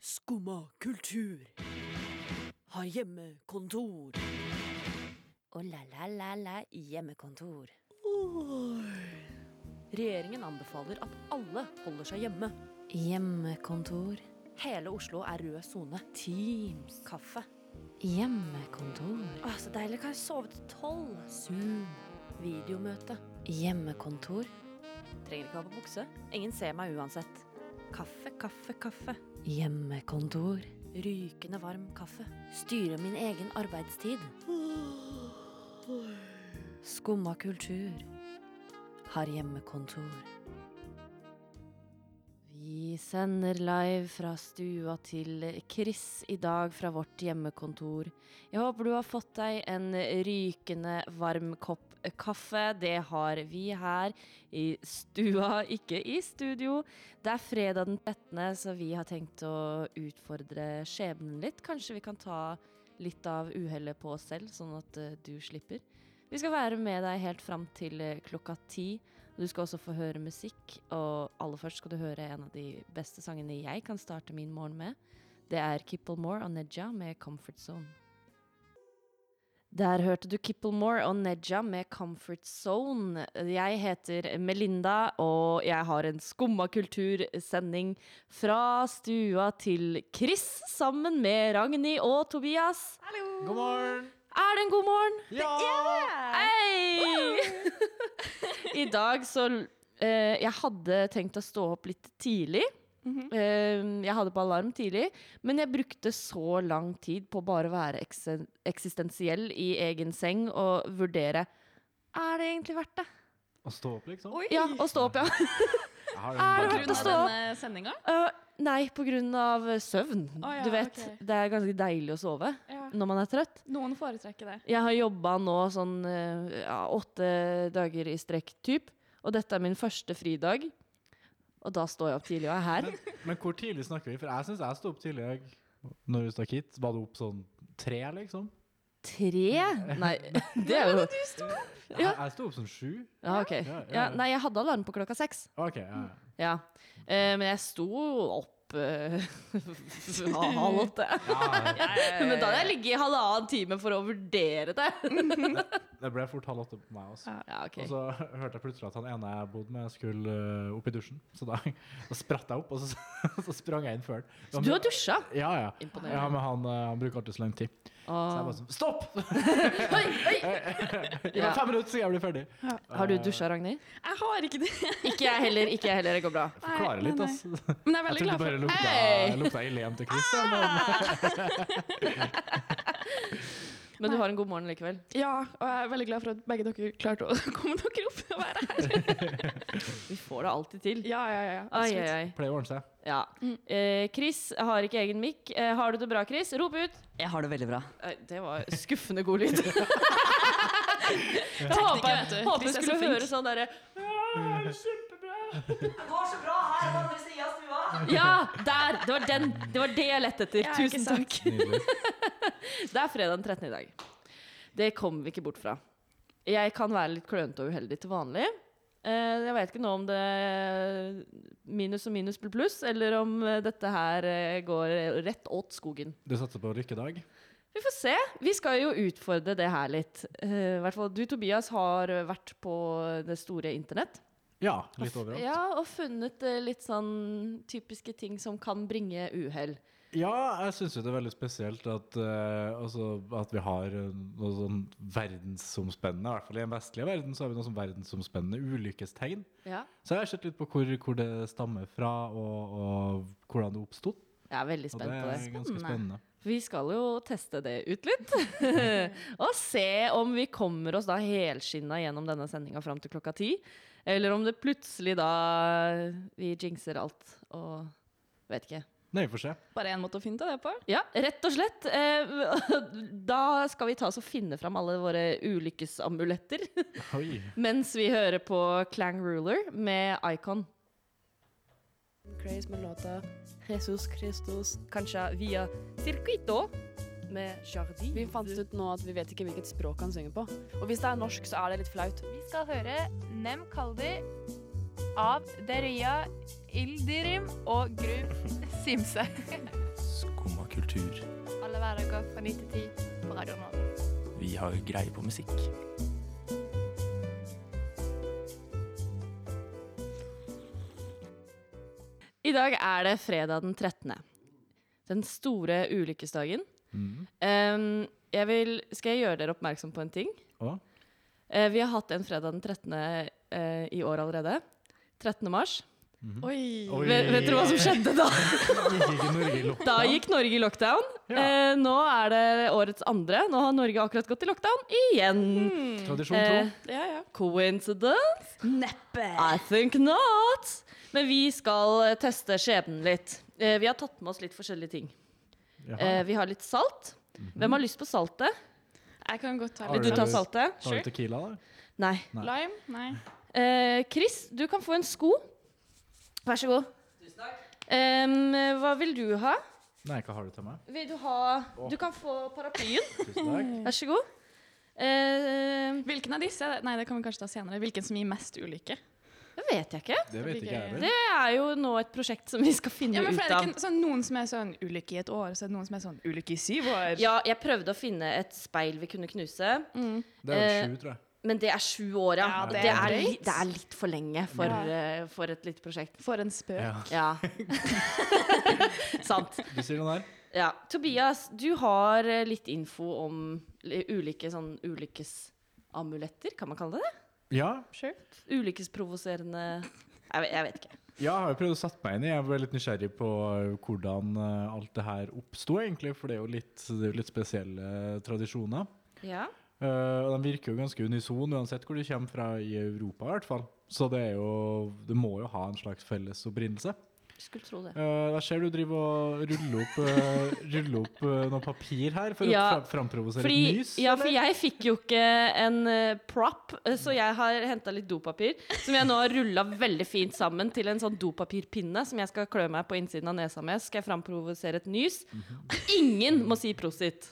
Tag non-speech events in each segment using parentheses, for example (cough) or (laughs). Skumma kultur. Har hjemmekontor. Og la-la-la-la hjemmekontor. Regjeringen anbefaler at alle holder seg hjemme. Hjemmekontor. Hele Oslo er rød sone. Teams. Kaffe. Hjemmekontor. Å, så deilig. Kan jeg sove til tolv? Zoom. Videomøte. Hjemmekontor. Trenger ikke ha på bukse. Ingen ser meg uansett. Kaffe, kaffe, kaffe. Hjemmekontor. Rykende varm kaffe. Styre min egen arbeidstid. Skumma kultur. Har hjemmekontor. Vi sender live fra stua til Chris i dag fra vårt hjemmekontor. Jeg håper du har fått deg en rykende varm kopp kaffe. Det har vi her i stua, ikke i studio. Det er fredag den 13., så vi har tenkt å utfordre skjebnen litt. Kanskje vi kan ta litt av uhellet på oss selv, sånn at eh, du slipper. Vi skal være med deg helt fram til eh, klokka ti. Du skal også få høre musikk, og aller først skal du høre en av de beste sangene jeg kan starte min morgen med. Det er Kipplemore og Neja med 'Comfort Zone'. Der hørte du Kipplemore og Neja med 'Comfort Zone'. Jeg heter Melinda, og jeg har en skumma kultursending fra stua til Chris sammen med Ragnhild og Tobias. God morgen! Er det en god morgen? Ja! Hei! I dag så eh, Jeg hadde tenkt å stå opp litt tidlig. Mhm. Eh, jeg hadde på alarm tidlig, men jeg brukte så lang tid på bare å være ekse- eksistensiell i egen seng og vurdere Er det egentlig verdt det? Å stå opp, liksom? Ja, å stå opp, ja. Jeg har Er det den verdt å bakgrunnen. stå opp? denne sendinga? Eh, nei, på grunn av søvn. Å ja, du vet, ok. det er ganske deilig å sove Ja. når man er trøtt. Noen foretrekker det. Jeg har jobba nå sånn eh, ja, åtte dager i strekk typ, og dette er min første fridag. Og da står jeg opp tidlig og er her. Men hvor tidlig snakker vi? For jeg syns jeg sto opp tidlig i dag. Når vi stakk hit, var det opp sånn tre, liksom? Tre? (laughs) Nei, (laughs) det er jo Jeg, jeg sto opp sånn sju. Ja, ok. Ja, nei, jeg hadde alarm på klokka seks. OK. Ja. Ja. Eh, men jeg sto opp eh, (laughs) halv åtte. ja. Men da hadde jeg ligget i halvannen time for å vurdere det. Det ble fort halv åtte på meg også. Ja, ok. Og så hørte jeg plutselig at han ene jeg bodde med, skulle øh, opp i dusjen. Så da, (laughs) da spratt jeg opp, og så, (laughs) så sprang jeg inn før Så han. du har dusja? Ja, ja. Imponerende. ja, men han, øh, han bruker alltid så lang tid. Så jeg Åh. bare sånn Stopp! (laughs) Oi, oi! (laughs) Det var Ja. fem minutter siden jeg ble ferdig. Har du dusja, Ragnhild? Jeg har ikke det. Ikke jeg heller. Ikke jeg heller. Det går bra. Forklare Nei, litt, nei, ass. Men jeg er Jeg trodde veldig glad bare for lukta, Hei! Ah! lukta Helen til Christian. Men (laughs) Men du Nei. har en god morgen likevel. Ja, og jeg er veldig glad for at begge dere klarte å (laughs) komme dere opp og være her. Vi får det alltid til. Ja, ja, ja. Ai, absolutt. ai, ai. pleier å ordne seg. Ja. Eh, Chris har ikke egen mikk. Eh, har du det bra, Chris? Rop ut! Jeg har det veldig bra. Eh, det var skuffende god (laughs) lyd. jeg Tekniker, håper, vet håper jeg du. Chris er skulle så flink. høre sånn derre Det går så bra her på andre sida av stua. Ja, der! Det var den! Det var det jeg lette etter. Ja, ikke Tusen sant. takk. Det er fredag den 13. i dag. Det kommer vi ikke bort fra. Jeg kan være litt klønete og uheldig til vanlig. Eh, Jeg vet ikke nå om det minus og minus blir pluss, eller om eh, dette her eh, går rett åt skogen. Du satser på lykkedag? Vi får se. Vi skal jo utfordre det her litt. Eh, I hvert fall du, Tobias, har vært på det store internett. Ja, litt overalt. Ja, Ja, og funnet eh, litt sånn typiske ting som kan bringe uhell. jeg syns jo det er veldig spesielt at, eh, altså, at vi har eh, noe sånn verdensomspennende, i hvert fall i den vestlige verden, så har vi noe sånn verdensomspennende ulykkestegn. Ja. Så jeg har sett litt på hvor, hvor det stammer fra, og, og hvordan det oppstod. Jeg er veldig Og spent det på det. er ganske spennende. Vi skal jo teste det ut litt. (laughs) og se om vi kommer oss da helskinna gjennom denne sendinga fram til klokka ti. Eller om det plutselig da vi jinxer alt og vet ikke. Nei, vi får se. Bare én måte å finne ut av det på. Ja, rett og slett. Eh, (laughs) Da skal vi ta oss og finne fram alle våre ulykkesamuletter Oi. (laughs) mens vi hører på Clang Ruler med Icon. Craze med låta Jesus Christus Kanskje via Circuito med Jardin. Vi fant ut nå at vi vet ikke hvilket språk han synger på. Og hvis det er norsk, så er det litt flaut. Vi skal høre Nem Kaldi av Deria Ildirim og Grub Simse. Skumma kultur. Alle hverdager fra 9 til 10 på Radio Nova. Vi har greie på musikk. I dag er det fredag den 13. Den store ulykkesdagen. Mm. Ehm, jeg vil, skal jeg gjøre dere oppmerksom på en ting? Hva? Eh, vi har hatt en fredag den 13. eh, i år allerede. 13. mars. Oi. Oi. Vet, vet dere hva som skjedde (laughs) da? Gikk ikke Norge i lockdown? Da gikk Norge i lockdown. Ja. Eh, nå er det årets andre. Nå har Norge akkurat gått i lockdown igjen. Tradisjon Hmm, Eh, tro. Hmm. Ja, ja. coincidence? Neppe. I think not. Men vi skal eh, teste skjebnen litt. Eh, vi har tatt med oss litt forskjellige ting. Jaha. Eh, vi har litt salt. Hvem har lyst på saltet? Jeg kan godt ta Har Vil du litt. du ta lyst? saltet? Har du tequila, da? Nei. Nei. Lime? Nei. Eh, Chris, du kan få en sko. Vær så god. Em, hva vil du ha? Nei, hva har du til meg? Vil du ha Du kan få paraplyen. (laughs) Tusen takk. Vær så god. Eh, Hvilken av disse? Nei, det kan vi kanskje ta senere. Hvilken som gir mest ulykke? det vet jeg ikke. Det vet ikke jeg Det heller. Det er jo nå et prosjekt som vi skal finne Ja, men for ut er det av. ikke sånn noen som er sånn ulykke i et år, og så er det noen som er sånn ulykke i syv år? Ja, jeg prøvde å finne et speil vi kunne knuse, Det er jo sju, tror jeg. men det er sju år, ja. Ja, det, det er er li- drøyt. det er litt for lenge for, Ja. eh, for et lite prosjekt. For en spøk. Ja. (laughs) Ja. (laughs) Sant. Du sier noe der? Ja. Tobias, du har eh, litt info om li- ulike sånn ulykkesamuletter, kan man kalle det det? Ja, Sure. Ulykkesprovoserende (clears throat) jeg, vet- jeg vet ikke. Ja, jeg har jo prøvd å sette meg inn i. Jeg var litt nysgjerrig på hvordan eh, alt det her oppsto, egentlig. For det er jo litt, det er jo litt spesielle eh, tradisjoner. Ja. Eh, og de virker jo ganske unison uansett hvor du kommer fra i Europa, i hvert fall. Så det er jo Det må jo ha en slags felles opprinnelse. Skulle tro det. Uh, jeg ser du driver og ruller opp, eh, ruller opp eh, noe papir her for å Ja, fra framprovosere et Fordi, nys. ja, for jeg fikk jo ikke en eh, prop, eh, så jeg har henta litt dopapir. Som jeg nå har rulla veldig fint sammen til en sånn dopapirpinne som jeg skal klø meg på innsiden av nesa med. Skal jeg framprovosere et nys? Mhm. Ingen må si prosit!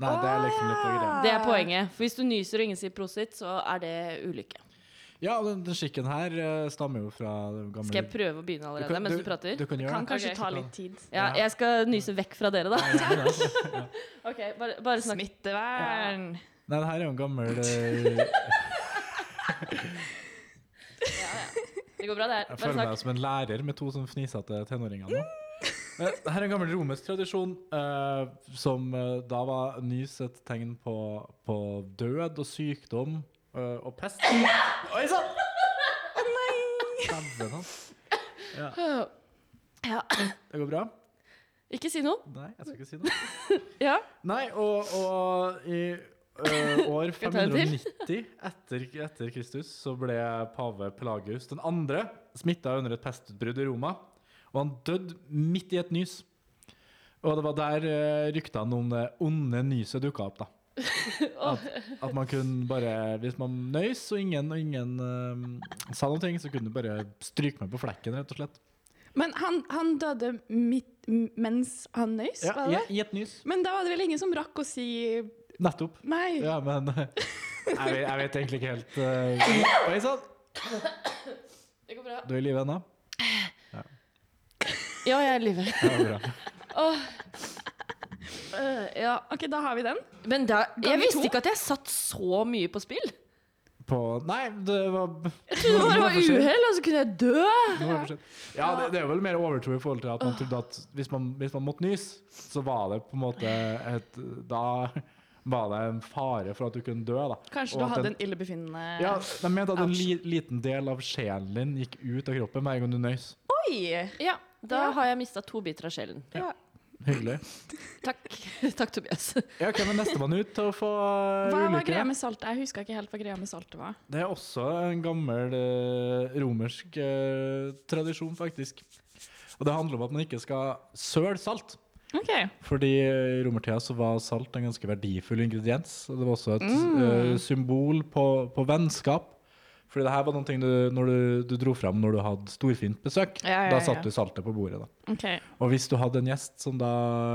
Nei, det er liksom litt av greia. Det er poenget. For hvis du nyser og ingen sier prosit, så er det ulykke. Ja, den, den skikken her eh, stammer jo fra den gamle Skal jeg prøve å begynne Du allerede kan- mens du prater? Du kan gjøre Kan det. kanskje Ok. ta litt tid. Ja, jeg skal nyse vekk fra dere, da. Ja, det altså. er det. (laughs) Ok, bare, bare snakk. Smittevern. Nei, det her er jo (laughs) en gammel eh, Det går bra, det her. Jeg Bare føler snakk. meg som en lærer med to sånn fnisete (laughs) tenåringer nå. Eh, Det her er en gammel romersk tradisjon eh, som eh, da var nys et tegn på, på død og sykdom eh, og pest. Oi sann! Å nei! Ja. Ja. Det går bra? Ikke si noe. Nei, jeg skal ikke si noe. Ja. Nei, og, og i ø, år Skal jeg ta en til? 590 etter, etter Kristus så ble pave Pelagius den andre smitta under et pestutbrudd i Roma. Og han døde midt i et nys. Og det var der ø, ryktene om det onde nyset (laughs) dukka opp, da. At, at man kunne bare Hvis man nøys og ingen, og ingen ø, sa noen ting, så kunne du bare stryke meg på flekken, rett og slett. Men han, han døde midt, m- mens han nøys, Ja, var i, det det? I et nys. Men da var det vel ingen som rakk å si Nettopp. nei. Ja, men eh, jeg vet, jeg vet egentlig ikke helt eh, Oi sann! Det går bra. Du er i live ennå? Ja, jeg er i live. Ja, bra. Øh, ja. Ok, da har vi den. Men da, jeg Ganger visste to. ikke at jeg satt så mye på spill. På Nei, det var Jeg trodde det bare var uhell, og så kunne jeg dø. Nå var det for sent. Ja, det, det er vel mer overtro i forhold til at man trodde at hvis man, hvis man måtte nys, så var det på en måte et Da var det en fare for at du kunne dø, da. Kanskje Og du at hadde den- en illebefinnende Ja, De mente at en li, liten del av sjelen din gikk ut av kroppen hver gang du nøys. Oi! Ja, Da har jeg mista to biter av sjelen. Hyggelig. Takk, (laughs) Takk (laughs) Tobias. Ja, Hvem er nestemann ut til å få eh, Hva var ulykke? greia med saltet? Jeg huska ikke helt hva greia med saltet var. Det er også en gammel eh, romersk eh, tradisjon, faktisk. Og det handler om at man ikke skal søle salt. Ok. Fordi i romertida så var salt en ganske verdifull ingrediens. Og det var også et Mm. eh, symbol på, på vennskap. Fordi det her var noen ting du, når du, du dro fram når du hadde storfint besøk. Ja, ja, Da ja. satte du saltet på bordet. da. Ok. Og hvis du hadde en gjest som da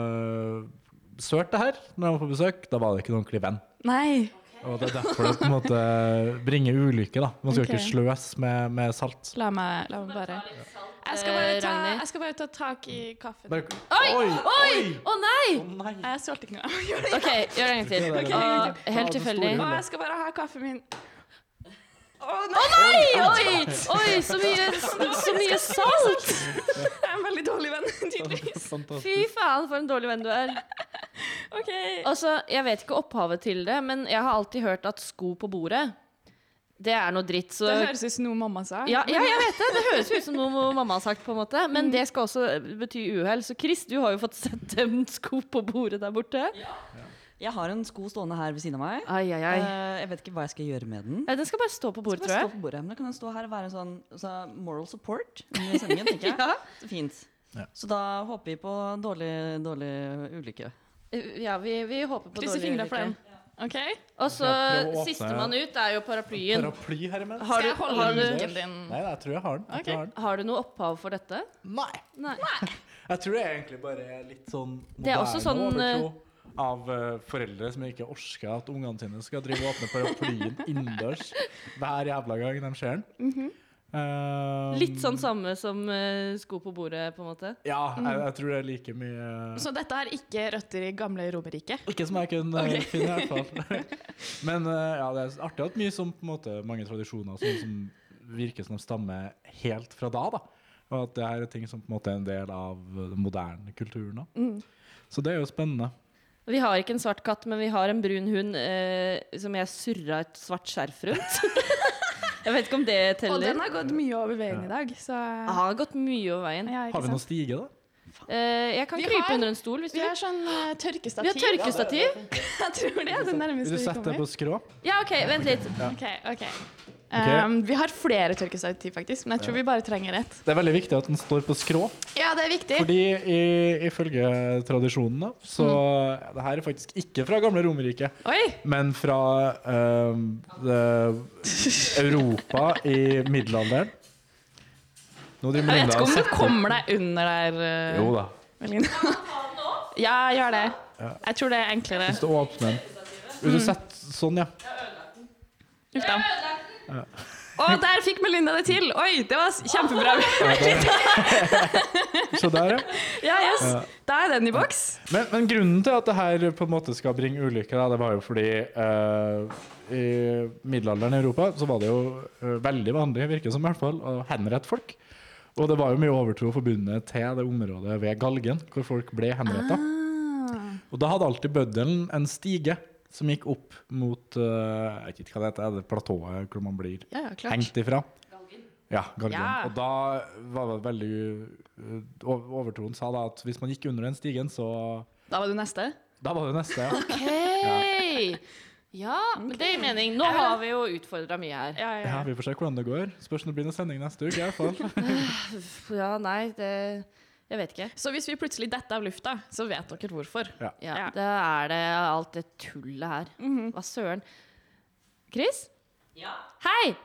eh, sølte det her når han var på besøk, da var det ikke en ordentlig venn. Nei. Og det er derfor det på en måte bringer ulykke, da. Man skal jo Ok. ikke sløse med, med salt. La meg, la meg bare Jeg skal, eh, bare ta, Ragnhild? jeg skal bare ta tak i kaffen. Bare, Oi! Oi! Å nei! Å nei! (laughs) Nei, Jeg svelget ikke noe. Jeg må gjøre OK, gjør det en gang til. Ok, ok, ok. Og helt Ta det store tilfeldig. det. hullet. Å, jeg skal bare ha kaffen min. (laughs) Oi, oi, oi! Så mye, så mye salt! Jeg er en veldig dårlig venn, (laughs) tydeligvis. Fantastisk. Fy faen, for en dårlig venn du er. Ok. Altså, Jeg vet ikke opphavet til det, men jeg har alltid hørt at sko på bordet, det er noe dritt. Så Det høres ut som noe mamma sa. Altså- ja, Mm. ja, jeg vet det. Det høres jo ut som noe mamma har sagt, på en måte. Men det skal også bety uhell. Så Chris, du har jo fått sett dem sko på bordet der borte. Jeg har en sko stående her ved siden av meg. Ai, ai, ai. Eh, jeg vet ikke hva jeg skal gjøre med den. Nei, Eh, Den skal bare stå på Så bordet, bare tror stå jeg. på bordet. Men da kan den stå her og være en sånn altså, moral support (laughs) under sendingen, tenker jeg. Så fint. Ja. Så da håper vi på dårlig, dårlig ulykke. Eh, Ja, vi, vi håper på Krysse dårlig fingrene for ulykke. den. Ok? Og så Jeg prøver å åpne- sistemann ut er jo paraplyen. Paraply her imens? Har Skal du, jeg holde har, du, den? Din. Nei, nei, jeg tror jeg har den. Jeg, tror jeg har den. har du noe opphav for dette? Nei. Nei. jeg tror jeg egentlig bare er litt sånn Det er også moderne sånn, overtro av eh, foreldre som ikke orsker at ungene sine skal drive og åpne (laughs) paraplyen innendørs hver jævla gang de ser den. Eh, Mhm. Litt sånn samme som Mhm. eh, sko på bordet, på en måte. Ja, jeg, jeg tror det er like mye Så dette har ikke røtter i gamle Romerriket? Ikke som jeg kunne eh, finne, i (laughs) hvert fall. Men eh, ja, det er artig at mye som på en måte, mange tradisjoner som, som virker som de stammer helt fra da. da. Og at det her er ting som på en måte er en del av den moderne kulturen. Da. Mm. Så det er jo spennende. Vi har ikke en svart katt, men vi har en brun hund eh, som jeg surra et svart skjerf rundt. (laughs) jeg vet ikke om det Og den teller. har gått mye over veien i dag, så Den har gått mye over veien. ja, Har ikke vi noe sant. stige, da? Eh, jeg kan Vi krype har- under en stol hvis du Vi har vil. sånn eh, tørkestativ. Vi har tørkestativ. Jeg tror det (laughs) er det Vil nærmeste du vi sette deg kommer. på skrå? Ja, OK, vent litt. Ok, ok. Um, vi har flere tørkestativ, faktisk, men jeg tror vi bare trenger ett. Det er veldig viktig at den står på skrå, Ja, det er viktig. fordi i, ifølge tradisjonen, da, så Mm. Det her er faktisk ikke fra gamle Romerriket. Oi! Men fra ehm, det- Europa i middelalderen Nå driver Jeg vet Melinda ikke og om du setter- kommer deg under der, Jo da. Melina. (laughs) Ja, gjør det. Jeg tror det er enklere. Hvis du åpner den Vil du sette sånn, ja. Uff da. Å, der fikk Melinda det til! Oi, det var s- (laughs) kjempebra. Se der, ja. Ja, yes. Da er den i boks. Men, men grunnen til at det her på en måte skal bringe ulykke, da, det var jo fordi eh, i middelalderen i Europa så var det jo eh, veldig vanlig, virker det som i hvert fall, å henrette folk. Og det var jo mye overtro forbundet til det området ved galgen, hvor folk ble henretta. Ah. Og da hadde alltid bøddelen en stige som gikk opp mot eh, Jeg vet ikke hva det heter, er det platået hvor man blir Ja, ja, klart. hengt ifra? Ja, galgen. Ja. Og da var det veldig eh, o- Overtroen sa da at hvis man gikk under den stigen, så Da var du neste. da var det (laughs) neste. ja. Hei! Ja, men det gir mening. Nå har vi jo utfordra mye her. Ja, ja. Ja, vi får se hvordan det går. Spørs om det blir noen sending neste uke. i hvert (laughs) fall. Ja, nei, det Jeg vet ikke. Så hvis vi plutselig detter av lufta, så vet dere hvorfor. Ja, Mhm. Ja. Da er det alt det tullet her. Hva søren. Chris? Hei!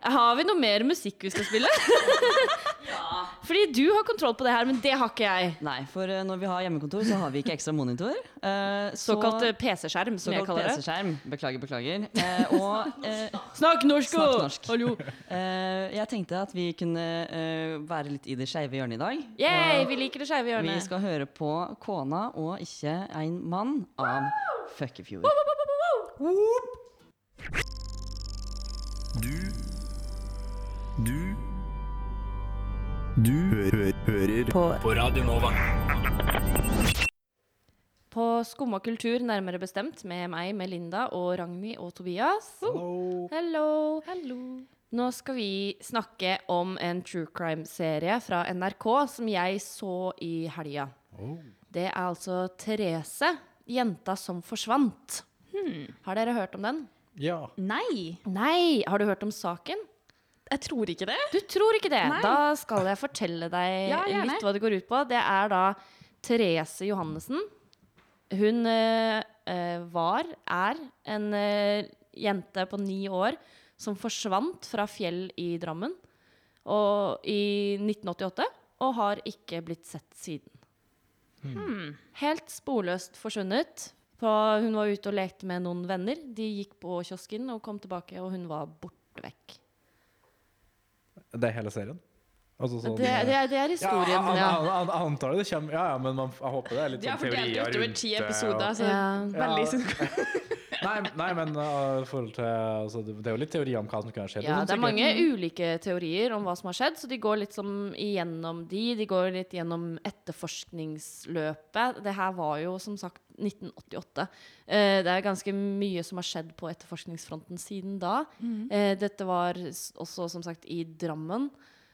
Har vi noe mer musikk vi skal spille? Fordi du har kontroll på det her, men det har ikke jeg. Nei, for eh, når vi har hjemmekontor, så har vi ikke ekstra monitor. Eh, så- Såkalt eh, PC-skjerm, som jeg Såkalt kaller det. PC-skjerm. Beklager, beklager. Eh, og eh, Snakk norsk! Snakk og- norsk. Hallo. eh, jeg tenkte at vi kunne eh, være litt i det skeive hjørnet i dag. Yay, vi liker det skeive Vi hjørnet. skal høre på Kona og ikke en mann av Føkkefjord. Du Du Du hø hø hører på. på Radio Nova. På Skumma kultur, nærmere bestemt, med meg, Melinda og Ragnhild og Tobias. Hello. Nå skal vi snakke om en true crime-serie fra NRK som jeg så i helga. Det er altså Therese, jenta som forsvant. Har dere hørt om den? Ja. Nei, Hmm. Nei. Har du hørt om saken? jeg tror ikke det. Du tror ikke det? Nei. Da skal jeg fortelle deg Ja, gjerne. litt hva det går ut på. Det er da Therese Johannessen. Hun eh, eh, var, er, en eh, jente på ni år som forsvant fra Fjell i Drammen og, i 1988 og har ikke blitt sett siden. Hmm. Helt sporløst forsvunnet. På, hun var ute og lekte med noen venner. De gikk på kiosken og kom tilbake, og hun var borte vekk. Det er hele serien? Altså sånn, Det, det, er- det er ja, jeg, historien, ja. antar det det kommer Ja, ja, men man, jeg håper det er litt De har sånn fordelt teorier det utover rundt ti det, og- episoder, Altså, så ja. veldig Ja. (laughs) (laughs) Nei, nei men uh, i forhold til altså, Det det er jo litt teorier om hva som kan skje. Ja, sånn det er sikkert- mange ulike teorier om hva som har skjedd, så de går litt som igjennom de. De går litt gjennom etterforskningsløpet. Det her var jo som sagt 1988. Eh, Det er ganske mye som har skjedd på etterforskningsfronten siden da. Eh, Dette var s- også som sagt i Drammen.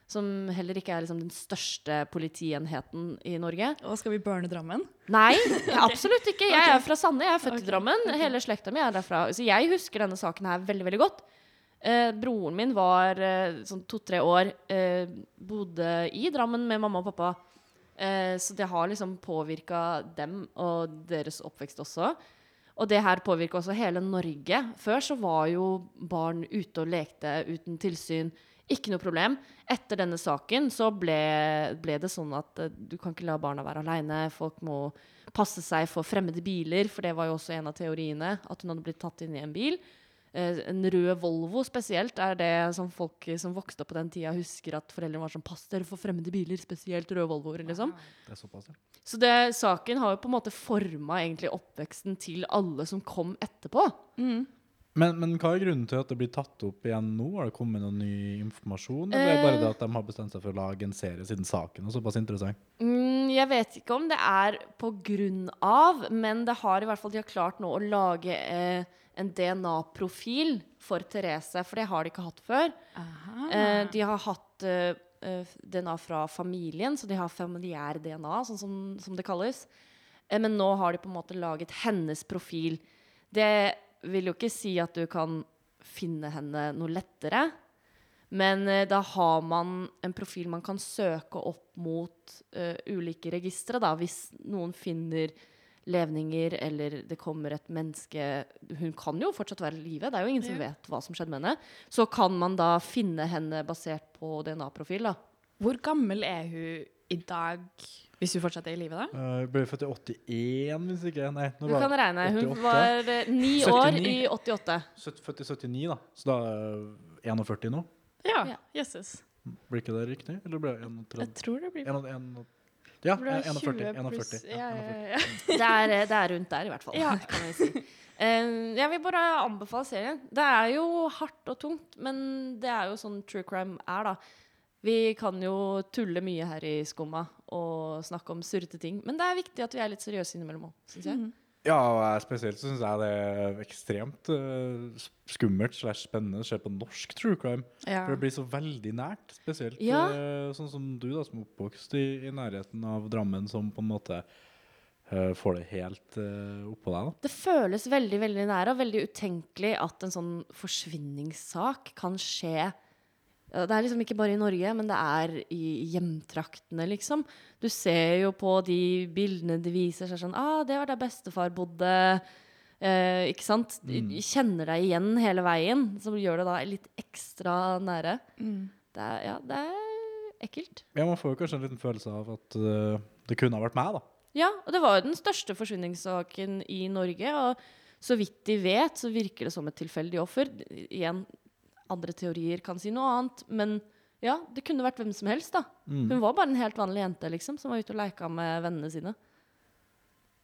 Som heller ikke er liksom den største politienheten i Norge. Og skal vi burne Drammen? Nei, absolutt ikke. Jeg er fra Sande, jeg er født i Drammen. Hele slekta mi er derfra. Så jeg husker denne saken her veldig, veldig godt. Eh, broren min var eh, sånn to-tre år, eh, bodde i Drammen med mamma og pappa. Eh, så det har liksom påvirka dem og deres oppvekst også. Og det her påvirker også hele Norge. Før så var jo barn ute og lekte uten tilsyn. Ikke noe problem. Etter denne saken så ble, ble det sånn at eh, du kan ikke la barna være aleine. Folk må passe seg for fremmede biler, for det var jo også en av teoriene. At hun hadde blitt tatt inn i en bil. Eh, en rød Volvo spesielt er det som folk som vokste opp på den tida, husker at foreldrene var sånn Pass dere for fremmede biler, spesielt røde Volvoer, liksom. Det er såpass, ja. Så det, saken har jo på en måte forma egentlig oppveksten til alle som kom etterpå. men, men hva er grunnen til at det blir tatt opp igjen nå? Har det kommet noe ny informasjon? Eller er det bare Eh. det at de har bestemt seg for å lage en serie siden saken er såpass interessant? Mm, jeg vet ikke om det er på grunn av, men det har i hvert fall de har klart nå å lage eh, en DNA-profil for Therese, for det har de ikke hatt før. Eh, de har hatt eh, eh, DNA fra familien, så de har familiær DNA, sånn som, som det kalles. Eh, men nå har de på en måte laget hennes profil. Det vil jo ikke si at du kan finne henne noe lettere. Men eh, da har man en profil man kan søke opp mot eh, ulike registre, da, hvis noen finner levninger eller det kommer et menneske Hun kan jo fortsatt være i live, det er jo ingen som vet hva som skjedde med henne. Så kan man da finne henne basert på DNA-profil, da. Hvor gammel er hun i dag, hvis hun fortsatt er i live, da? Uh, ble født i 81, hvis ikke Nei, nå Du kan regne. Hun 88. var eh, ni år 79. i 88. Søt- Født i 79, da. Så da er hun 41 nå. Ja, Ja. jøsses. Blir ikke det riktig? Eller ble hun 31? Jeg tror det blir En og- en og- Ja, det er 41. 20 pluss. 41, Ja, Eh, ja, ja, 41. ja. Det er, eh, det er rundt der, i hvert fall. Ja. (laughs) Kan vi si. Eh, jeg vil bare anbefale serien. Det er jo hardt og tungt, men det er jo sånn true crime er, da. Vi kan jo tulle mye her i skumma og snakke om surrete ting, men det er viktig at vi er litt seriøse innimellom òg, syns jeg. Ja, og jeg spesielt så syns jeg det er ekstremt eh, s- skummelt slash spennende å se på norsk true crime. Ja. For det blir så veldig nært. Spesielt Ja. eh, sånn som du, da, som er oppvokst i, i nærheten av Drammen, som på en måte eh, får det helt eh, oppå deg. da. Det føles veldig veldig nære og veldig utenkelig at en sånn forsvinningssak kan skje Ja, Det er liksom ikke bare i Norge, men det er i hjemtraktene, liksom. Du ser jo på de bildene de viser seg sånn ah, det var der bestefar bodde. Eh, ikke sant? Du du kjenner deg igjen hele veien, som gjør det da litt ekstra nære. Det er, ja, det er ekkelt. Ja, Man får jo kanskje en liten følelse av at eh, det kunne ha vært meg, da. Ja, og det var jo den største forsvinningssaken i Norge. Og så vidt de vet, så virker det som et tilfeldig offer. Igjen, andre teorier kan si noe annet, men ja, det kunne vært hvem som helst, da. Hun var bare en helt vanlig jente, liksom, som var ute og leika med vennene sine.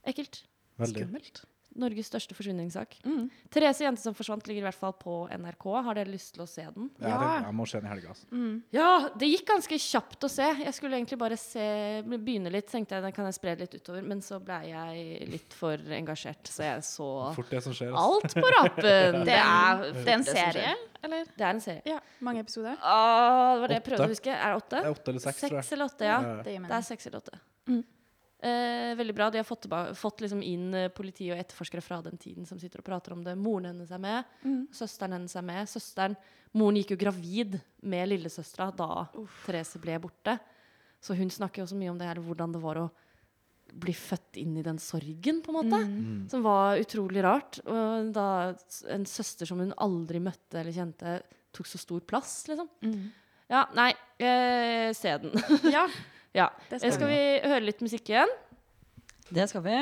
Ekkelt. Veldig. Norges største forsvinningssak. Therese Jente som forsvant ligger i hvert fall på NRK. Har dere lyst til å se den? Ja. Jeg, tenker, jeg må se den i helga. Altså. Ja, det gikk ganske kjapt å se. Jeg skulle egentlig bare se, begynne litt, tenkte jeg den kan jeg spre litt utover, men så ble jeg litt for engasjert, så jeg så Mm. Fort det som skjer. Altså. alt på (laughs) rappen. Det er, Det er en som skjer. serie, eller? Det er en serie. Ja, mange (laughs) episoder. Ah, det var det jeg prøvde Åtte. å huske. Er det åtte? Det er åtte eller seks, tror jeg. Seks eller åtte, ja. Ja, ja. Det Det gir mening. Mm. er seks eller åtte. Eh, veldig bra. De har fått, tilba- fått liksom inn eh, politi og etterforskere fra den tiden som sitter og prater om det. Moren hennes er med. Mm. Søsteren hennes er med. Søsteren, Moren gikk jo gravid med lillesøstera da Therese ble borte. Så hun snakker jo også mye om det her, hvordan det var å bli født inn i den sorgen, på en måte. Mm. Som var utrolig rart. Og da s- en søster som hun aldri møtte eller kjente, tok så stor plass, liksom. Mm. Ja, nei, eh, se den. (laughs) Ja, ja. Eh, det Skal vi høre litt musikk igjen? Det skal vi.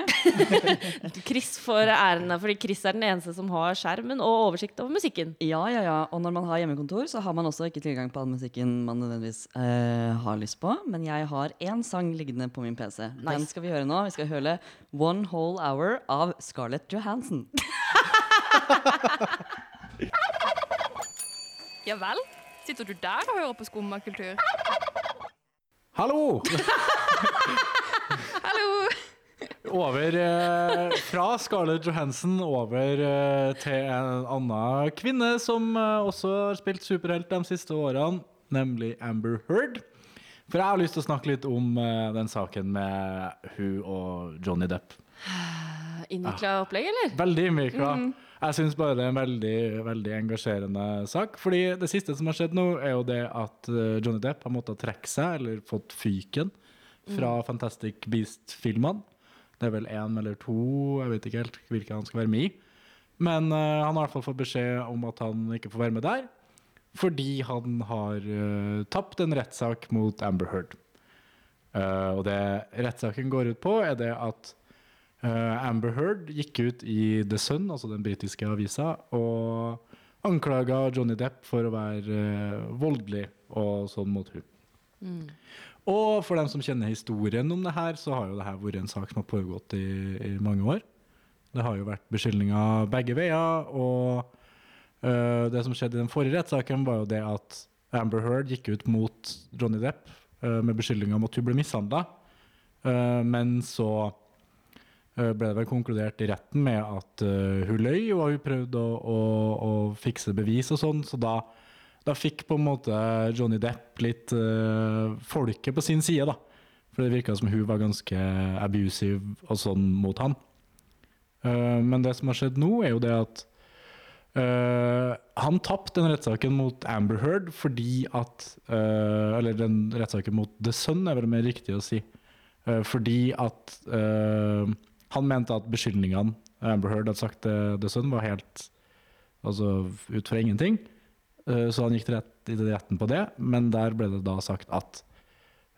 Chris får æren av, fordi Chris er den eneste som har skjermen og oversikt over musikken. Ja, ja, ja. Og når man har hjemmekontor, så har man også ikke tilgang på all musikken man nødvendigvis eh, har lyst på. Men jeg har én sang liggende på min PC. Den skal vi høre nå. Vi skal høre One Whole Hour av Scarlett Johansson. Ja vel? Sitter du der og hører på skummakultur? Hallo! Hallo! Over eh, Fra Scarlett Johansson over eh, til en annen kvinne som eh, også har spilt superhelt de siste årene, nemlig Amber Heard. For jeg har lyst til å snakke litt om eh, den saken med hun og Johnny Depp. Innvikla Eh, Ah. opplegg, eller? Veldig innvikla. Jeg syns bare det er en veldig, veldig engasjerende sak. Fordi det siste som har skjedd nå, er jo det at eh, Johnny Depp har måttet trekke seg, eller fått fyken, fra Fantastic Beast-filmene. Det er vel én eller to, jeg vet ikke helt hvilke han skal være med i. Men eh, han har i hvert fall fått beskjed om at han ikke får være med der, fordi han har eh, tapt en rettssak mot Amber Heard. Eh, og det rettssaken går ut på, er det at Eh, Amber Heard gikk ut i The Sun, altså den britiske avisa, og anklaga Johnny Depp for å være eh, voldelig og sånn mot hun. Og for dem som kjenner historien om det her, så har jo det her vært en sak som har pågått i, i mange år. Det har jo vært beskyldninger begge veier, og eh, det som skjedde i den forrige rettssaken, var jo det at Amber Heard gikk ut mot Johnny Depp eh, med beskyldninger om at hun ble mishandla, eh, men så eh, ble det vel konkludert i retten med at eh, hun løy, og hun prøvde å, å, å fikse bevis og sånn, så da, da fikk på en måte Johnny Depp litt eh, folket på sin side, da. For det virka som hun var ganske abusive og sånn mot han. Eh, men det som har skjedd nå, er jo det at eh, han tapte den rettssaken mot Amber Heard fordi at eh, Eller den rettssaken mot The Sun, er vel mer riktig å si. Eh, fordi at eh, han mente at beskyldningene Amber Heard hadde sagt til The Sun var helt altså, ut fra ingenting. Eh, Så han gikk til rett, i retten på det, men der ble det da sagt at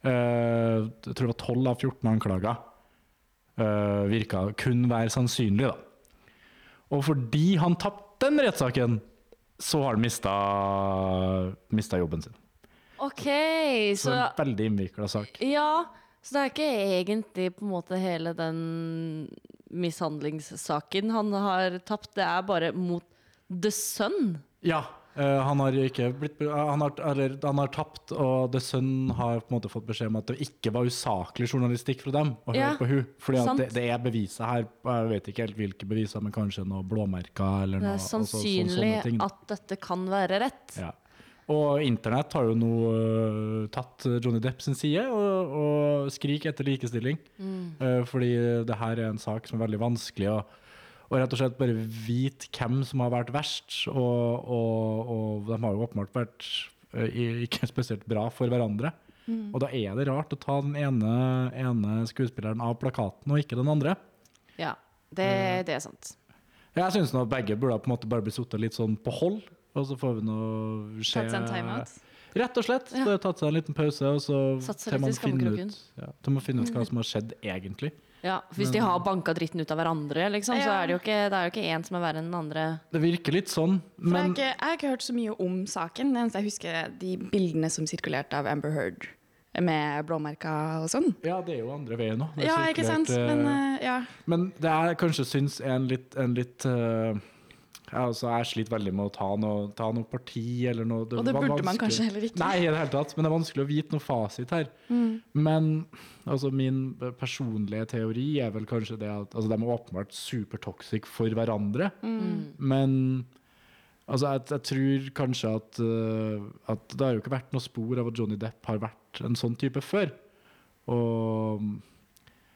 eh, Jeg tror det var 12 av 14 anklager eh, virka kun være sannsynlig, da. Og fordi han tapte den rettssaken, så har han mista, mista jobben sin. OK, Så det så er en veldig innvikla sak. Ja, så det er ikke egentlig på en måte hele den mishandlingssaken han har tapt. Det er bare mot The Sun. Ja. eh, han har ikke blitt eh, han har, eller, han har tapt, og The Sun har på en måte fått beskjed om at det ikke var usaklig journalistikk fra dem å høre Ja, på hun. Fordi at sant. det, det er beviset her, jeg vet ikke helt hvilke beviser, men kanskje noe blåmerker eller Det noe. er altså, så- sannsynlig sånne ting, da. at dette kan være rett. Ja. Og internett har jo nå øh, tatt Johnny Depp sin side og, og skrik etter likestilling. Mm. Eh, fordi det her er en sak som er veldig vanskelig å og rett og slett bare vite hvem som har vært verst. Og, og, og de har jo åpenbart vært eh, i- ikke spesielt bra for hverandre. Mm. Og da er det rart å ta den ene, ene skuespilleren av plakaten og ikke den andre. Ja, det, Eh. det er sant. Jeg syns nå at begge burde på en måte bare bli satt litt sånn på hold, og så får vi nå se Tatt seg en timeout. Rett og slett. Ja. Bare tatt seg en liten pause, og så Satt seg til litt man i finner skammekroken. ut, ja, til man finner ut hva som har skjedd egentlig. Ja, hvis de har banka dritten ut av hverandre, liksom, så er det jo ikke, det er jo ikke én som er verre enn den andre. Det virker litt sånn, For jeg, har men ikke, jeg har ikke hørt så mye om saken. Det eneste jeg husker, er de bildene som sirkulerte av Amber Heard med blåmerker og sånn. Ja, det er jo andre veien nå. Det er Ja, ikke sant? sirkulert, eh, Men eh, ja. Men det jeg kanskje syns er en litt, en litt eh, ja, altså Jeg sliter veldig med å ta noe, ta noe parti eller noe Og det var burde man vanskelig. kanskje heller ikke. Nei, i det hele tatt. Men det er vanskelig å vite noe fasit her. Mm. Men altså, min personlige teori er vel kanskje det at altså, de er åpenbart supertoxic for hverandre. Men altså, jeg, jeg tror kanskje at, eh, at det har jo ikke vært noe spor av at Johnny Depp har vært en sånn type før. Og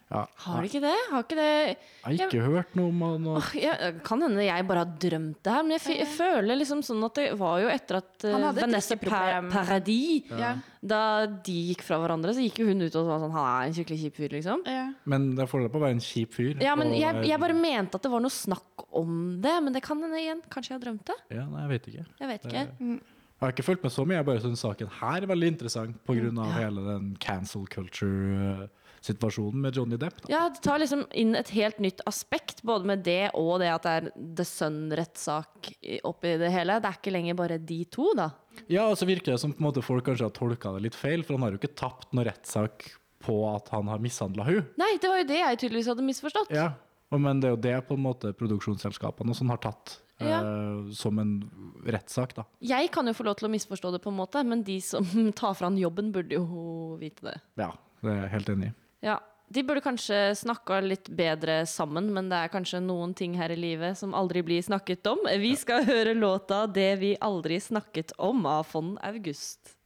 ja, Har de ikke det? Har ikke det? jeg har ikke hørt noe om han. og- Åh, jeg, kan hende jeg bare har drømt det her, men jeg, f jeg føler liksom sånn at det var jo etter at Han eh, hadde et Vanessa pa drikkeproblem. Paradis Ja. Da de gikk fra hverandre, så gikk jo hun ut og var sånn Han er en skikkelig kjip fyr, liksom. ja. Men det er fordel på å være en kjip fyr. Ja, men og jeg, være- jeg bare mente at det var noe snakk om det. Men det kan hende igjen. Kanskje jeg har drømt det? ja, Nei, jeg vet ikke. Jeg vet ikke. Jeg har ikke fulgt Mm, med så mye, jeg bare syns saken her er veldig interessant pga. av hele den cancel culture eh, situasjonen med Johnny Depp. Da. Ja, det tar liksom inn et helt nytt aspekt, både med det og det at det er The Sun-rettssak i- oppi det hele. Det er ikke lenger bare de to, da. Ja, og så virker det som på en måte folk kanskje har tolka det litt feil, for han har jo ikke tapt noen rettssak på at han har mishandla hun. Nei, det var jo det jeg tydeligvis hadde misforstått. Ja. Og Men det er jo det på en måte produksjonsselskapene og sånn har tatt eh, som en rettssak, da. Jeg kan jo få lov til å misforstå det, på en måte, men de som (laughs) tar fra han jobben, burde jo vite det. Ja, det er jeg helt enig i. Ja, De burde kanskje snakka litt bedre sammen, men det er kanskje noen ting her i livet som aldri blir snakket om. Vi skal høre låta 'Det vi aldri snakket om' av Fond August.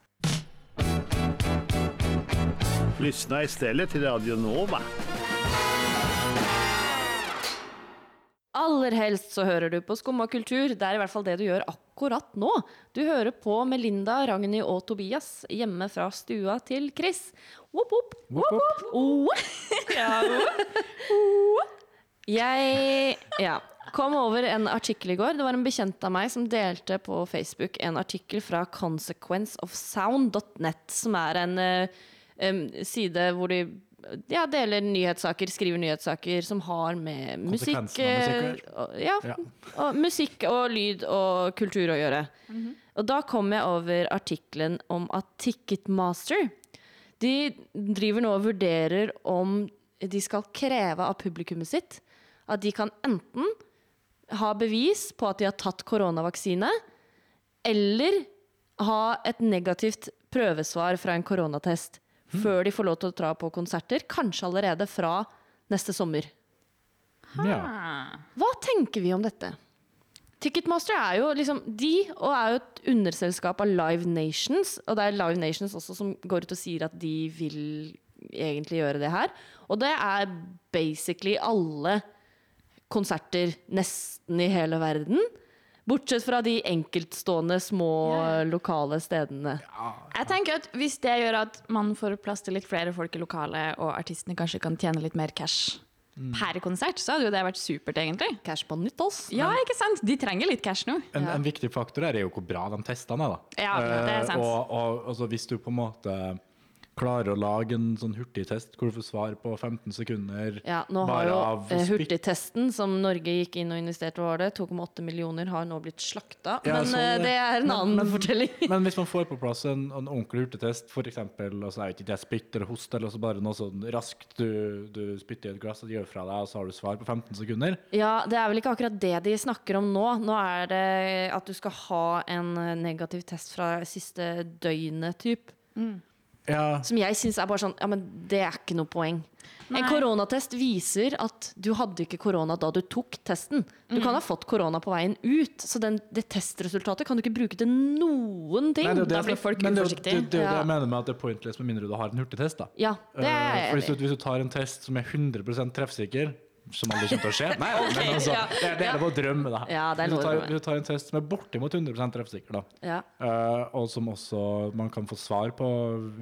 Lyssna istället till Radio Nova. Aller helst så hører du på Skumma kultur. Det er i hvert fall det du gjør akkurat nå. Du hører på Melinda, Ragnhild og Tobias hjemme fra stua til Chris. Woop, woop. Woop, woop. Oh. Ja, woop. Oh. Jeg ja, kom over en artikkel i går. Det var en bekjent av meg som delte på Facebook en artikkel fra consequenceofsound.net, som er en eh, em, side hvor de ja, deler nyhetssaker, skriver nyhetssaker som har med musikk Konsekvensen av eh, musikk og- ja, og musikk og lyd og kultur å gjøre. Og da kom jeg over artikkelen om at Ticketmaster De driver nå og vurderer om de skal kreve av publikummet sitt at de kan enten ha bevis på at de har tatt koronavaksine, eller ha et negativt prøvesvar fra en koronatest før de får lov til å dra på konserter, kanskje allerede fra neste sommer. Ja. Ah. Hva tenker vi om dette? Ticketmaster er jo liksom de, og er jo et underselskap av Live Nations. Og det er Live Nations også som går ut og sier at de vil egentlig gjøre det her. Og det er basically alle konserter nesten i hele verden. Bortsett fra de enkeltstående små eh, lokale stedene. Jeg tenker at Hvis det gjør at man får plass til litt flere folk i lokalet, og artistene kanskje kan tjene litt mer cash Mm. per konsert, så hadde jo det vært supert, egentlig. Cash på nytt, ass. Ja, ikke sant? De trenger litt cash nå. En, en viktig faktor her er jo hvor bra de testene er. da. Ja, det er Eh, sant. og og altså, hvis du på en måte klarer å lage en sånn hurtigtest hvor du får svar på 15 sekunder Ja, nå har bare jo av eh, spytt- hurtigtesten som Norge gikk inn og investerte var det, 2,8 millioner har nå blitt slakta. Ja, men sånn, eh, det. det er en Men- annen men- (laughs) fortelling. Men hvis man får på plass en, en ordentlig hurtigtest, f.eks. Altså, jeg vet ikke, det er spytt eller host, eller så bare noe sånn raskt du, du spytter i et glass og gjør fra deg, og så har du svar på 15 sekunder. Ja, det er vel ikke akkurat det de snakker om nå. Nå er det at du skal ha en eh, negativ test fra siste døgnet, typ. Ja, Som jeg syns er bare sånn Ja, men det er ikke noe poeng. En koronatest viser at du hadde ikke korona da du tok testen. Du kan ha fått korona på veien ut, så den, det testresultatet kan du ikke bruke til noen ting. Nei, det er jo det Da jeg blir snakker- folk men det er jo- uforsiktige. Det, det, er jo det Ja. jeg mener med at det er pointless med mindre du har en hurtigtest. da. Ja, det er Eh, jeg for hvis enig i. du, hvis du tar en test som er 100 treffsikker som aldri kommer til å skje. Nei, men altså, ja, det, er- det er lov å drømme, da. Ja, det er hvis, lov å du tar, drømme. hvis du tar en test som er bortimot 100 treffsikker, da, Ja. eh, og som også man kan få svar på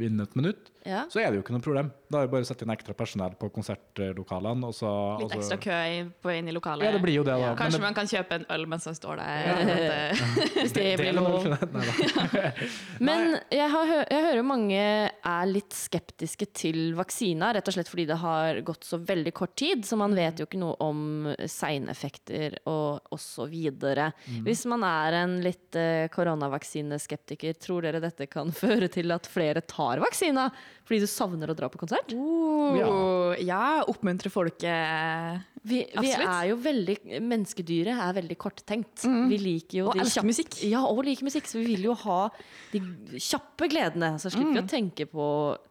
innen et minutt, Ja. så er det jo ikke noe problem. Da er det bare å sette inn ekstra personell på konsertlokalene. Og så, Litt og så- ekstra kø i- på inn i lokalet. Altså- Ja, det blir jo det, da. Kanskje men man kan kjøpe en øl mens man står der. Hvis det det, det blir er lov. lov. (laughs) Nei, da. (laughs) Men jeg, har, hø- jeg hører jo mange er litt skeptiske til vaksina, rett og slett fordi det har gått så veldig kort tid, så man vet jo ikke noe om seineffekter og osv. videre. Hvis man er en litt eh, koronavaksineskeptiker, tror dere dette kan (laughs) føre til at flere tar vaksina fordi du savner å dra på konsert? Oh, ja, oppmuntre folket. Vi, vi Absolutt. Mm. er jo veldig Menneskedyret er veldig korttenkt. Vi liker jo Og de elsker kjapp- musikk. Ja, og liker musikk, så vi vil jo ha de kjappe gledene. Så slipper Mm. vi å tenke på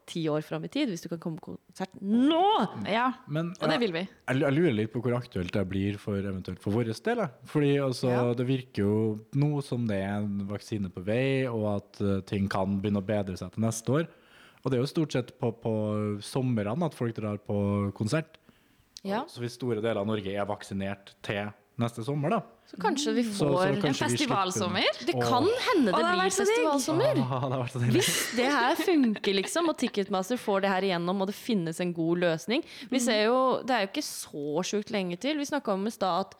ti år fram i tid, hvis du kan komme på konsert nå! Ja, Men, og det Mm. ja. vil vi. Jeg jeg lurer litt på hvor aktuelt det blir for eventuelt for vår del. jeg. Fordi altså, det virker jo nå som det er en vaksine på vei, og at eh, ting kan begynne å bedre seg til neste år. Og det er jo stort sett på, på somrene at folk drar på konsert. Ja. Så hvis store deler av Norge er vaksinert til neste sommer, da Så kanskje vi så, så får kanskje vi En slipper- festivalsommer. Det kan hende det Å, det hadde vært blir så digg. (laughs) festivalsommer! Ah, det har vært så deilig. Hvis det her funker, liksom, og Ticketmaster får det her igjennom, og det finnes en god løsning Mm. Vi ser jo, Det er jo ikke så sjukt lenge til. Vi snakka om i stad at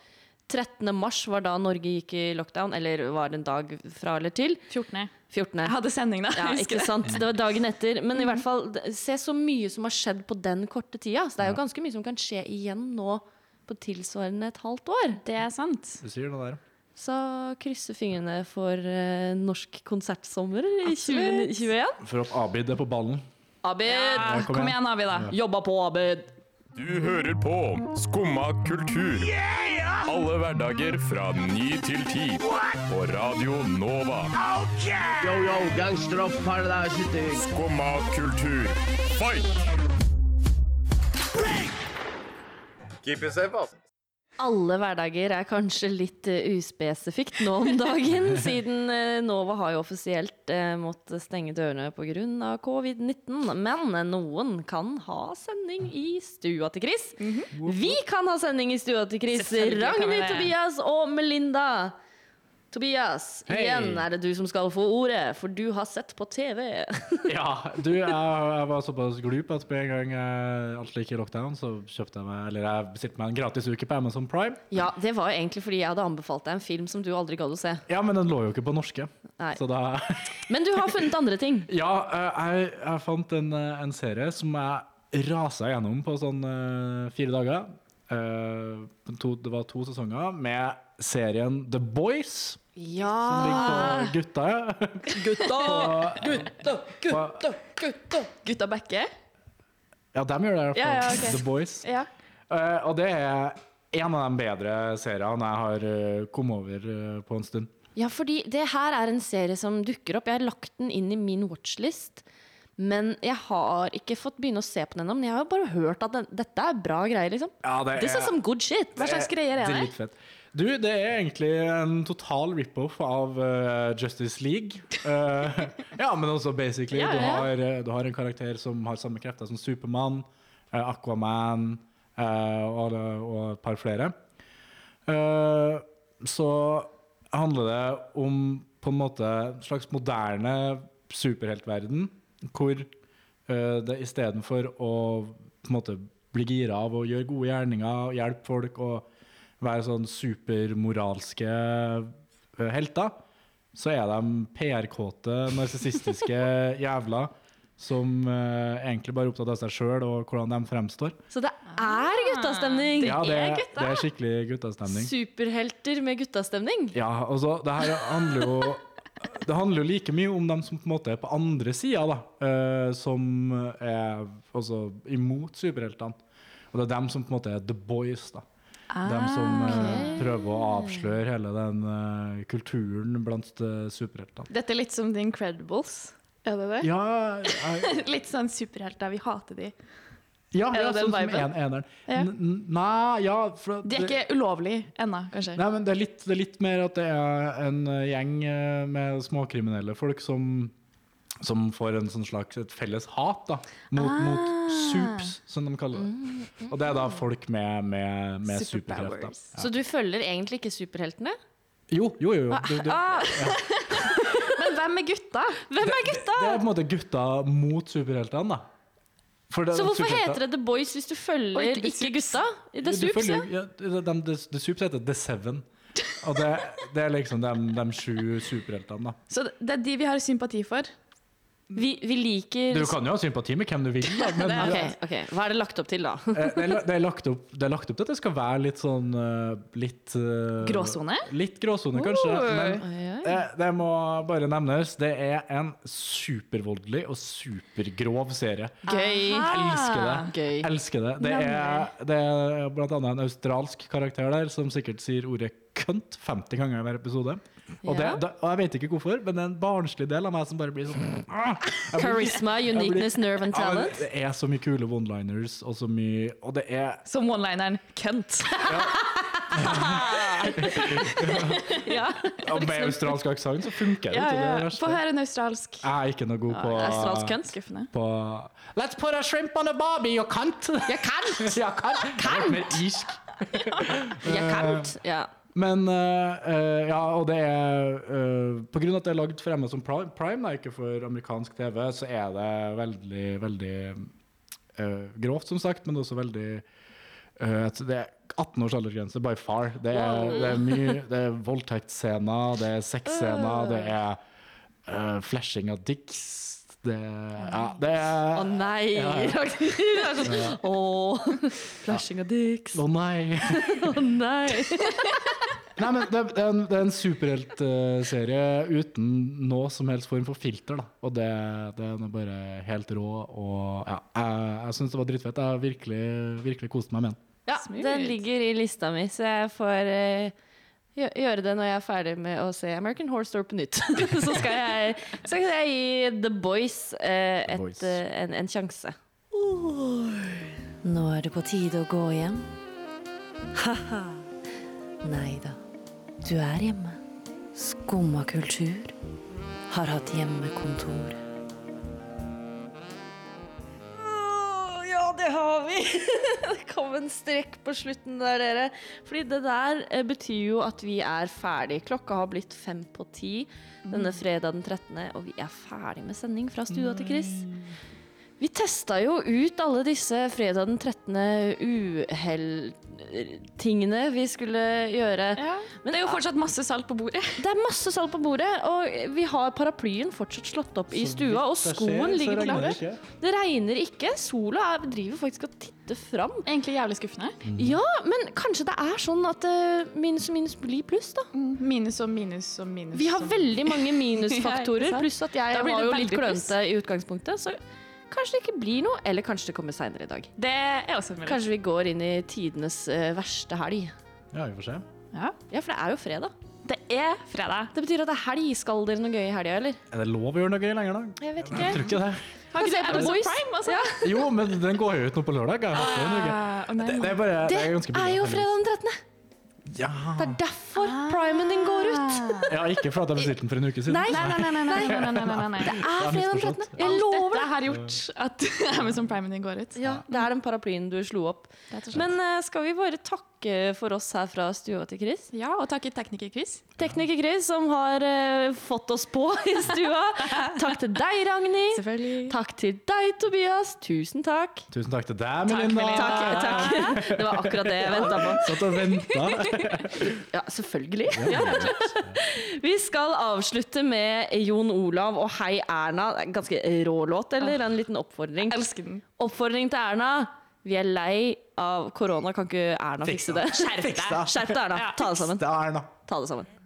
13. mars var da Norge gikk i lockdown, eller var det en dag fra eller til. 14. 14. Jeg hadde sending da. Ja, jeg husker ikke det. sant? Det var dagen etter. Men i hvert fall, d- se så mye som har skjedd på den korte tida. Så det er jo ganske mye som kan skje igjen nå på tilsvarende et halvt år. Det er sant. Du sier det der. Så krysse fingrene for eh, norsk konsertsommer i Absolutt. 2021. For at Abid er på ballen. Abid! Ja, kom Kom igjen. igjen, Avi, da. Jobba på, Abid! Du hører på Skumma kultur. Alle hverdager fra ny til ti. På Radio Nova. Yo, yo, gangsteropp, paradise. Skumma kultur. Fight! Keep it safe, ass. Alle hverdager er kanskje litt eh, uspesifikt nå om (laughs) dagen, siden eh, Nova har jo offisielt eh, måttet stenge dørene pga. covid-19. Men eh, noen kan ha sending i stua til Chris. Vi kan ha sending i stua til Chris. Selvfølgelig kan vi Ragnhild, det. Tobias og Melinda. Tobias, Hei. igjen er det du som skal få ordet, for du har sett på TV. Ja, du, jeg, jeg var såpass glup at med en gang eh, alt gikk i lockdown, så kjøpte jeg meg, eller jeg bestilte meg en gratis uke på Amazon Prime. ja, det var jo egentlig fordi jeg hadde anbefalt deg en film som du aldri gadd å se. Ja, men den lå jo ikke på norske. Nei. Så da (laughs) Men du har funnet andre ting. Ja, eh, jeg, jeg fant en, eh, en serie som jeg rasa gjennom på sånn eh, fire dager. Eh, to, det var to sesonger med serien The Boys. Som ligger på gutta. Ah. Gutta! Gutta, gutta, gutta! Gutta Bekke. Ja, dem gjør det i hvert Ja, fall. ja, ok. The Boys. Ja. Eh, og det er en av de bedre seriene jeg har eh, kommet over eh, på en stund. Ja, fordi det her er en serie som dukker opp. Jeg har lagt den inn i min watchlist. Men jeg har ikke fått begynne å se på den ennå. Men jeg har jo bare hørt at den, dette er bra greier, liksom. Ja, det This er- is some good shit. Hva slags greier er det? Dritfett. Du, det er egentlig en total rip-off av eh, Justice League. Eh, (laughs) ja, men også basically. Ja, ja, ja. Du, har, eh, du har en karakter som har samme krefter som Supermann, eh, Aquaman eh, og, og et par flere. Eh, så handler det om på en måte en slags moderne superheltverden, hvor eh, det istedenfor å på en måte bli gira av å gjøre gode gjerninger, hjelpe folk og være sånn supermoralske eh, helter, så er de PR-kåte, narsissistiske (laughs) jævla som eh, egentlig bare er opptatt av seg sjøl og hvordan de fremstår. Så det er guttastemning! ja, det, er det er skikkelig guttastemning. Superhelter med guttastemning. Ja, altså, det her handler jo Det handler jo like mye om dem som på en måte er på andre sida, da. eh, som er altså imot superheltene. Og det er dem som på en måte er the boys, da. Dem som Ah, eh, prøver å avsløre hele den eh, kulturen blant eh, superheltene. Dette er litt som The Incredibles. Er det det? Ja, jeg, (laughs) litt sånn superhelter. Vi hater de. ja, (laughs) Er ja det den sånn som viben? en, eneren. Ja. N- n- Nei, ja for at De er det- ikke ulovlige ennå, kanskje. Nei, men det er, litt, det er litt mer at det er en eh, gjeng eh, med småkriminelle folk som, som får en sånn slags et felles hat da, mot, mot Ah. sups, som de kaller det. Mm, Og det er da folk med, med, med superkrefter. Superpowers. Ja. Så du følger egentlig ikke superheltene? Jo, jo, jo. Ah, jo. Du, du, Men hvem er gutta? Hvem er gutta? det er på en måte gutta mot superheltene, da. For det- sånn Så hvorfor superhelter- heter det The Boys hvis du Og følger ikke The ikke Supes. gutta? The Du Supes, ja. følger- ja, det- dem- det- det Supes heter The Seven. Og det, det er liksom de, de sju (laughs) superheltene, da. Så det er de vi har sympati for. Vi, vi liker Du kan jo ha sympati med hvem du vil, (laughs) da, men Ok, ok, Hva er det lagt opp til, da? Eh, Det er, la- det, er lagt opp, det er lagt opp til at det skal være litt sånn eh, litt eh, Gråsone? Litt gråsone, kanskje. Men Oi, oi. eh, det må bare nevnes, det er en supervoldelig og supergrov serie. Gøy. Elsker det. Gøy. Elsker det. Det er, det er blant annet en australsk karakter der som sikkert sier ordet kønt 50 ganger i hver episode. Og, det, Ja. det, og jeg vet ikke hvorfor, men det er en barnslig del av meg som bare blir sånn ah! Jeg blir- Charisma, uniqueness, nerve and Ja, men talent. Det er så mye kule one-liners, og så mye Og det er Som one-lineren Kent. ja. Og med australsk aksent så (laughs) Liksom. ja, funker det ikke. Det ja. er det Få verste. høre en australsk. Jeg er ikke noe god på Australsk Kent. Skuffende. På Let's put a shrimp on a barbie, you cunt! Jeg kan! (laughs) jeg kan! Jeg er mer irsk. Jeg eh, kant. Ja. Men eh, eh, ja, og det er eh, På grunn av at det er lagd for Amazon Pri- Prime, da, ikke for amerikansk TV, så er det veldig, veldig eh, grovt, som sagt, men også veldig eh, at Det er 18 års aldersgrense by far. Det er, det er mye Det er voldtektsscener, det er sexscener, det er eh, flashing av dicks. Det, ja, det Å nei! Ja, ja. Det er sånn, Ja. Å, (laughs) flashing av dicks. Å nei! Å nei! Nei, men det, det er en, det er en superheltserie uten noe som helst form for filter, da. Og det, det er bare helt rå, og ja, jeg, jeg syns det var dritfett. Jeg har virkelig, virkelig kost meg med den. Ja, den ligger i lista mi, så jeg får eh, gjø- gjøre det når jeg er ferdig med å se American Horror Store på nytt. (laughs) så, skal jeg, så skal jeg gi The Boys eh, et, Boys. eh, en, en sjanse. Nå er det på tide å gå hjem. Ha-ha. Nei da, du er hjemme. Skumma kultur har hatt hjemmekontor. Ja, det har vi! Det kom en strekk på slutten der, dere. Fordi det der eh, betyr jo at vi er ferdig. Klokka har blitt fem på ti denne fredag den 13., og vi er ferdig med sending fra stua til Chris. Vi testa jo ut alle disse fredag den 13. uhell-tingene vi skulle gjøre. Men det er jo fortsatt masse salt på (laughs) bordet. Det er masse salt på bordet, og vi har paraplyen fortsatt slått opp i Så stua, og vidt jeg skoen ser, så ligger på regner det glasset. Det regner ikke. Sola er, driver faktisk og titter fram. Egentlig jævlig skuffende. Ja, men kanskje det er sånn at eh, minus og minus blir pluss, da. Minus og minus og minus. Vi har og- veldig (laughs) mange Ja, ikke minusfaktorer, sant? pluss at jeg Da blir var det jo litt veldig pluss. klønete i utgangspunktet. Så kanskje det ikke blir noe, eller kanskje det kommer seinere i dag. Det er også mulig. Kanskje vi går inn i tidenes eh, verste helg. Ja, vi får se. Ja. for det er jo fredag. Det er fredag. Det betyr at det er helg. Skal dere noe gøy i helga, eller? Er det lov å gjøre noe gøy lenger, da? Jeg vet Jeg tror ikke. ikke det. Har ikke du Amazon Prime, altså? Ja. Jo, men den går jo ut nå på lørdag. Jeg har hatt det, en uke. det, det er bare det er ganske Ah, er billig. jo fredag den 13. Ja. Det er derfor primen din går ut. ja, ikke fordi jeg bestilte den for en uke siden. Nei, nei, nei, nei, nei, nei, nei, nei, nei, nei. Det Ah. er fredag den 13. Jeg lover Dette har gjort at (laughs) Amazon Prime din går ut. Ja, det er den paraplyen du slo opp. Men eh, skal vi bare takke for oss her fra stua til Chris? Ja, og takke tekniker Chris. Tekniker Chris, som har eh, fått oss på (laughs) i stua. takk til deg, Ragnhild. Takk til deg, Tobias. Tusen takk. Tusen takk til deg, Melinda. Takk, takk. (laughs) Det var akkurat det jeg venta på. Satt og venta. (laughs) Ja, selvfølgelig. Ja. Vi skal avslutte med Jon Olav og Hei Erna. Det er en ganske rå låt, eller? En liten oppfordring. Oppfordring til Erna. Vi er lei av korona, kan ikke Erna fikse det? Fikse det. Skjerp deg, Erna. Ta det sammen. Erna. Ta det sammen.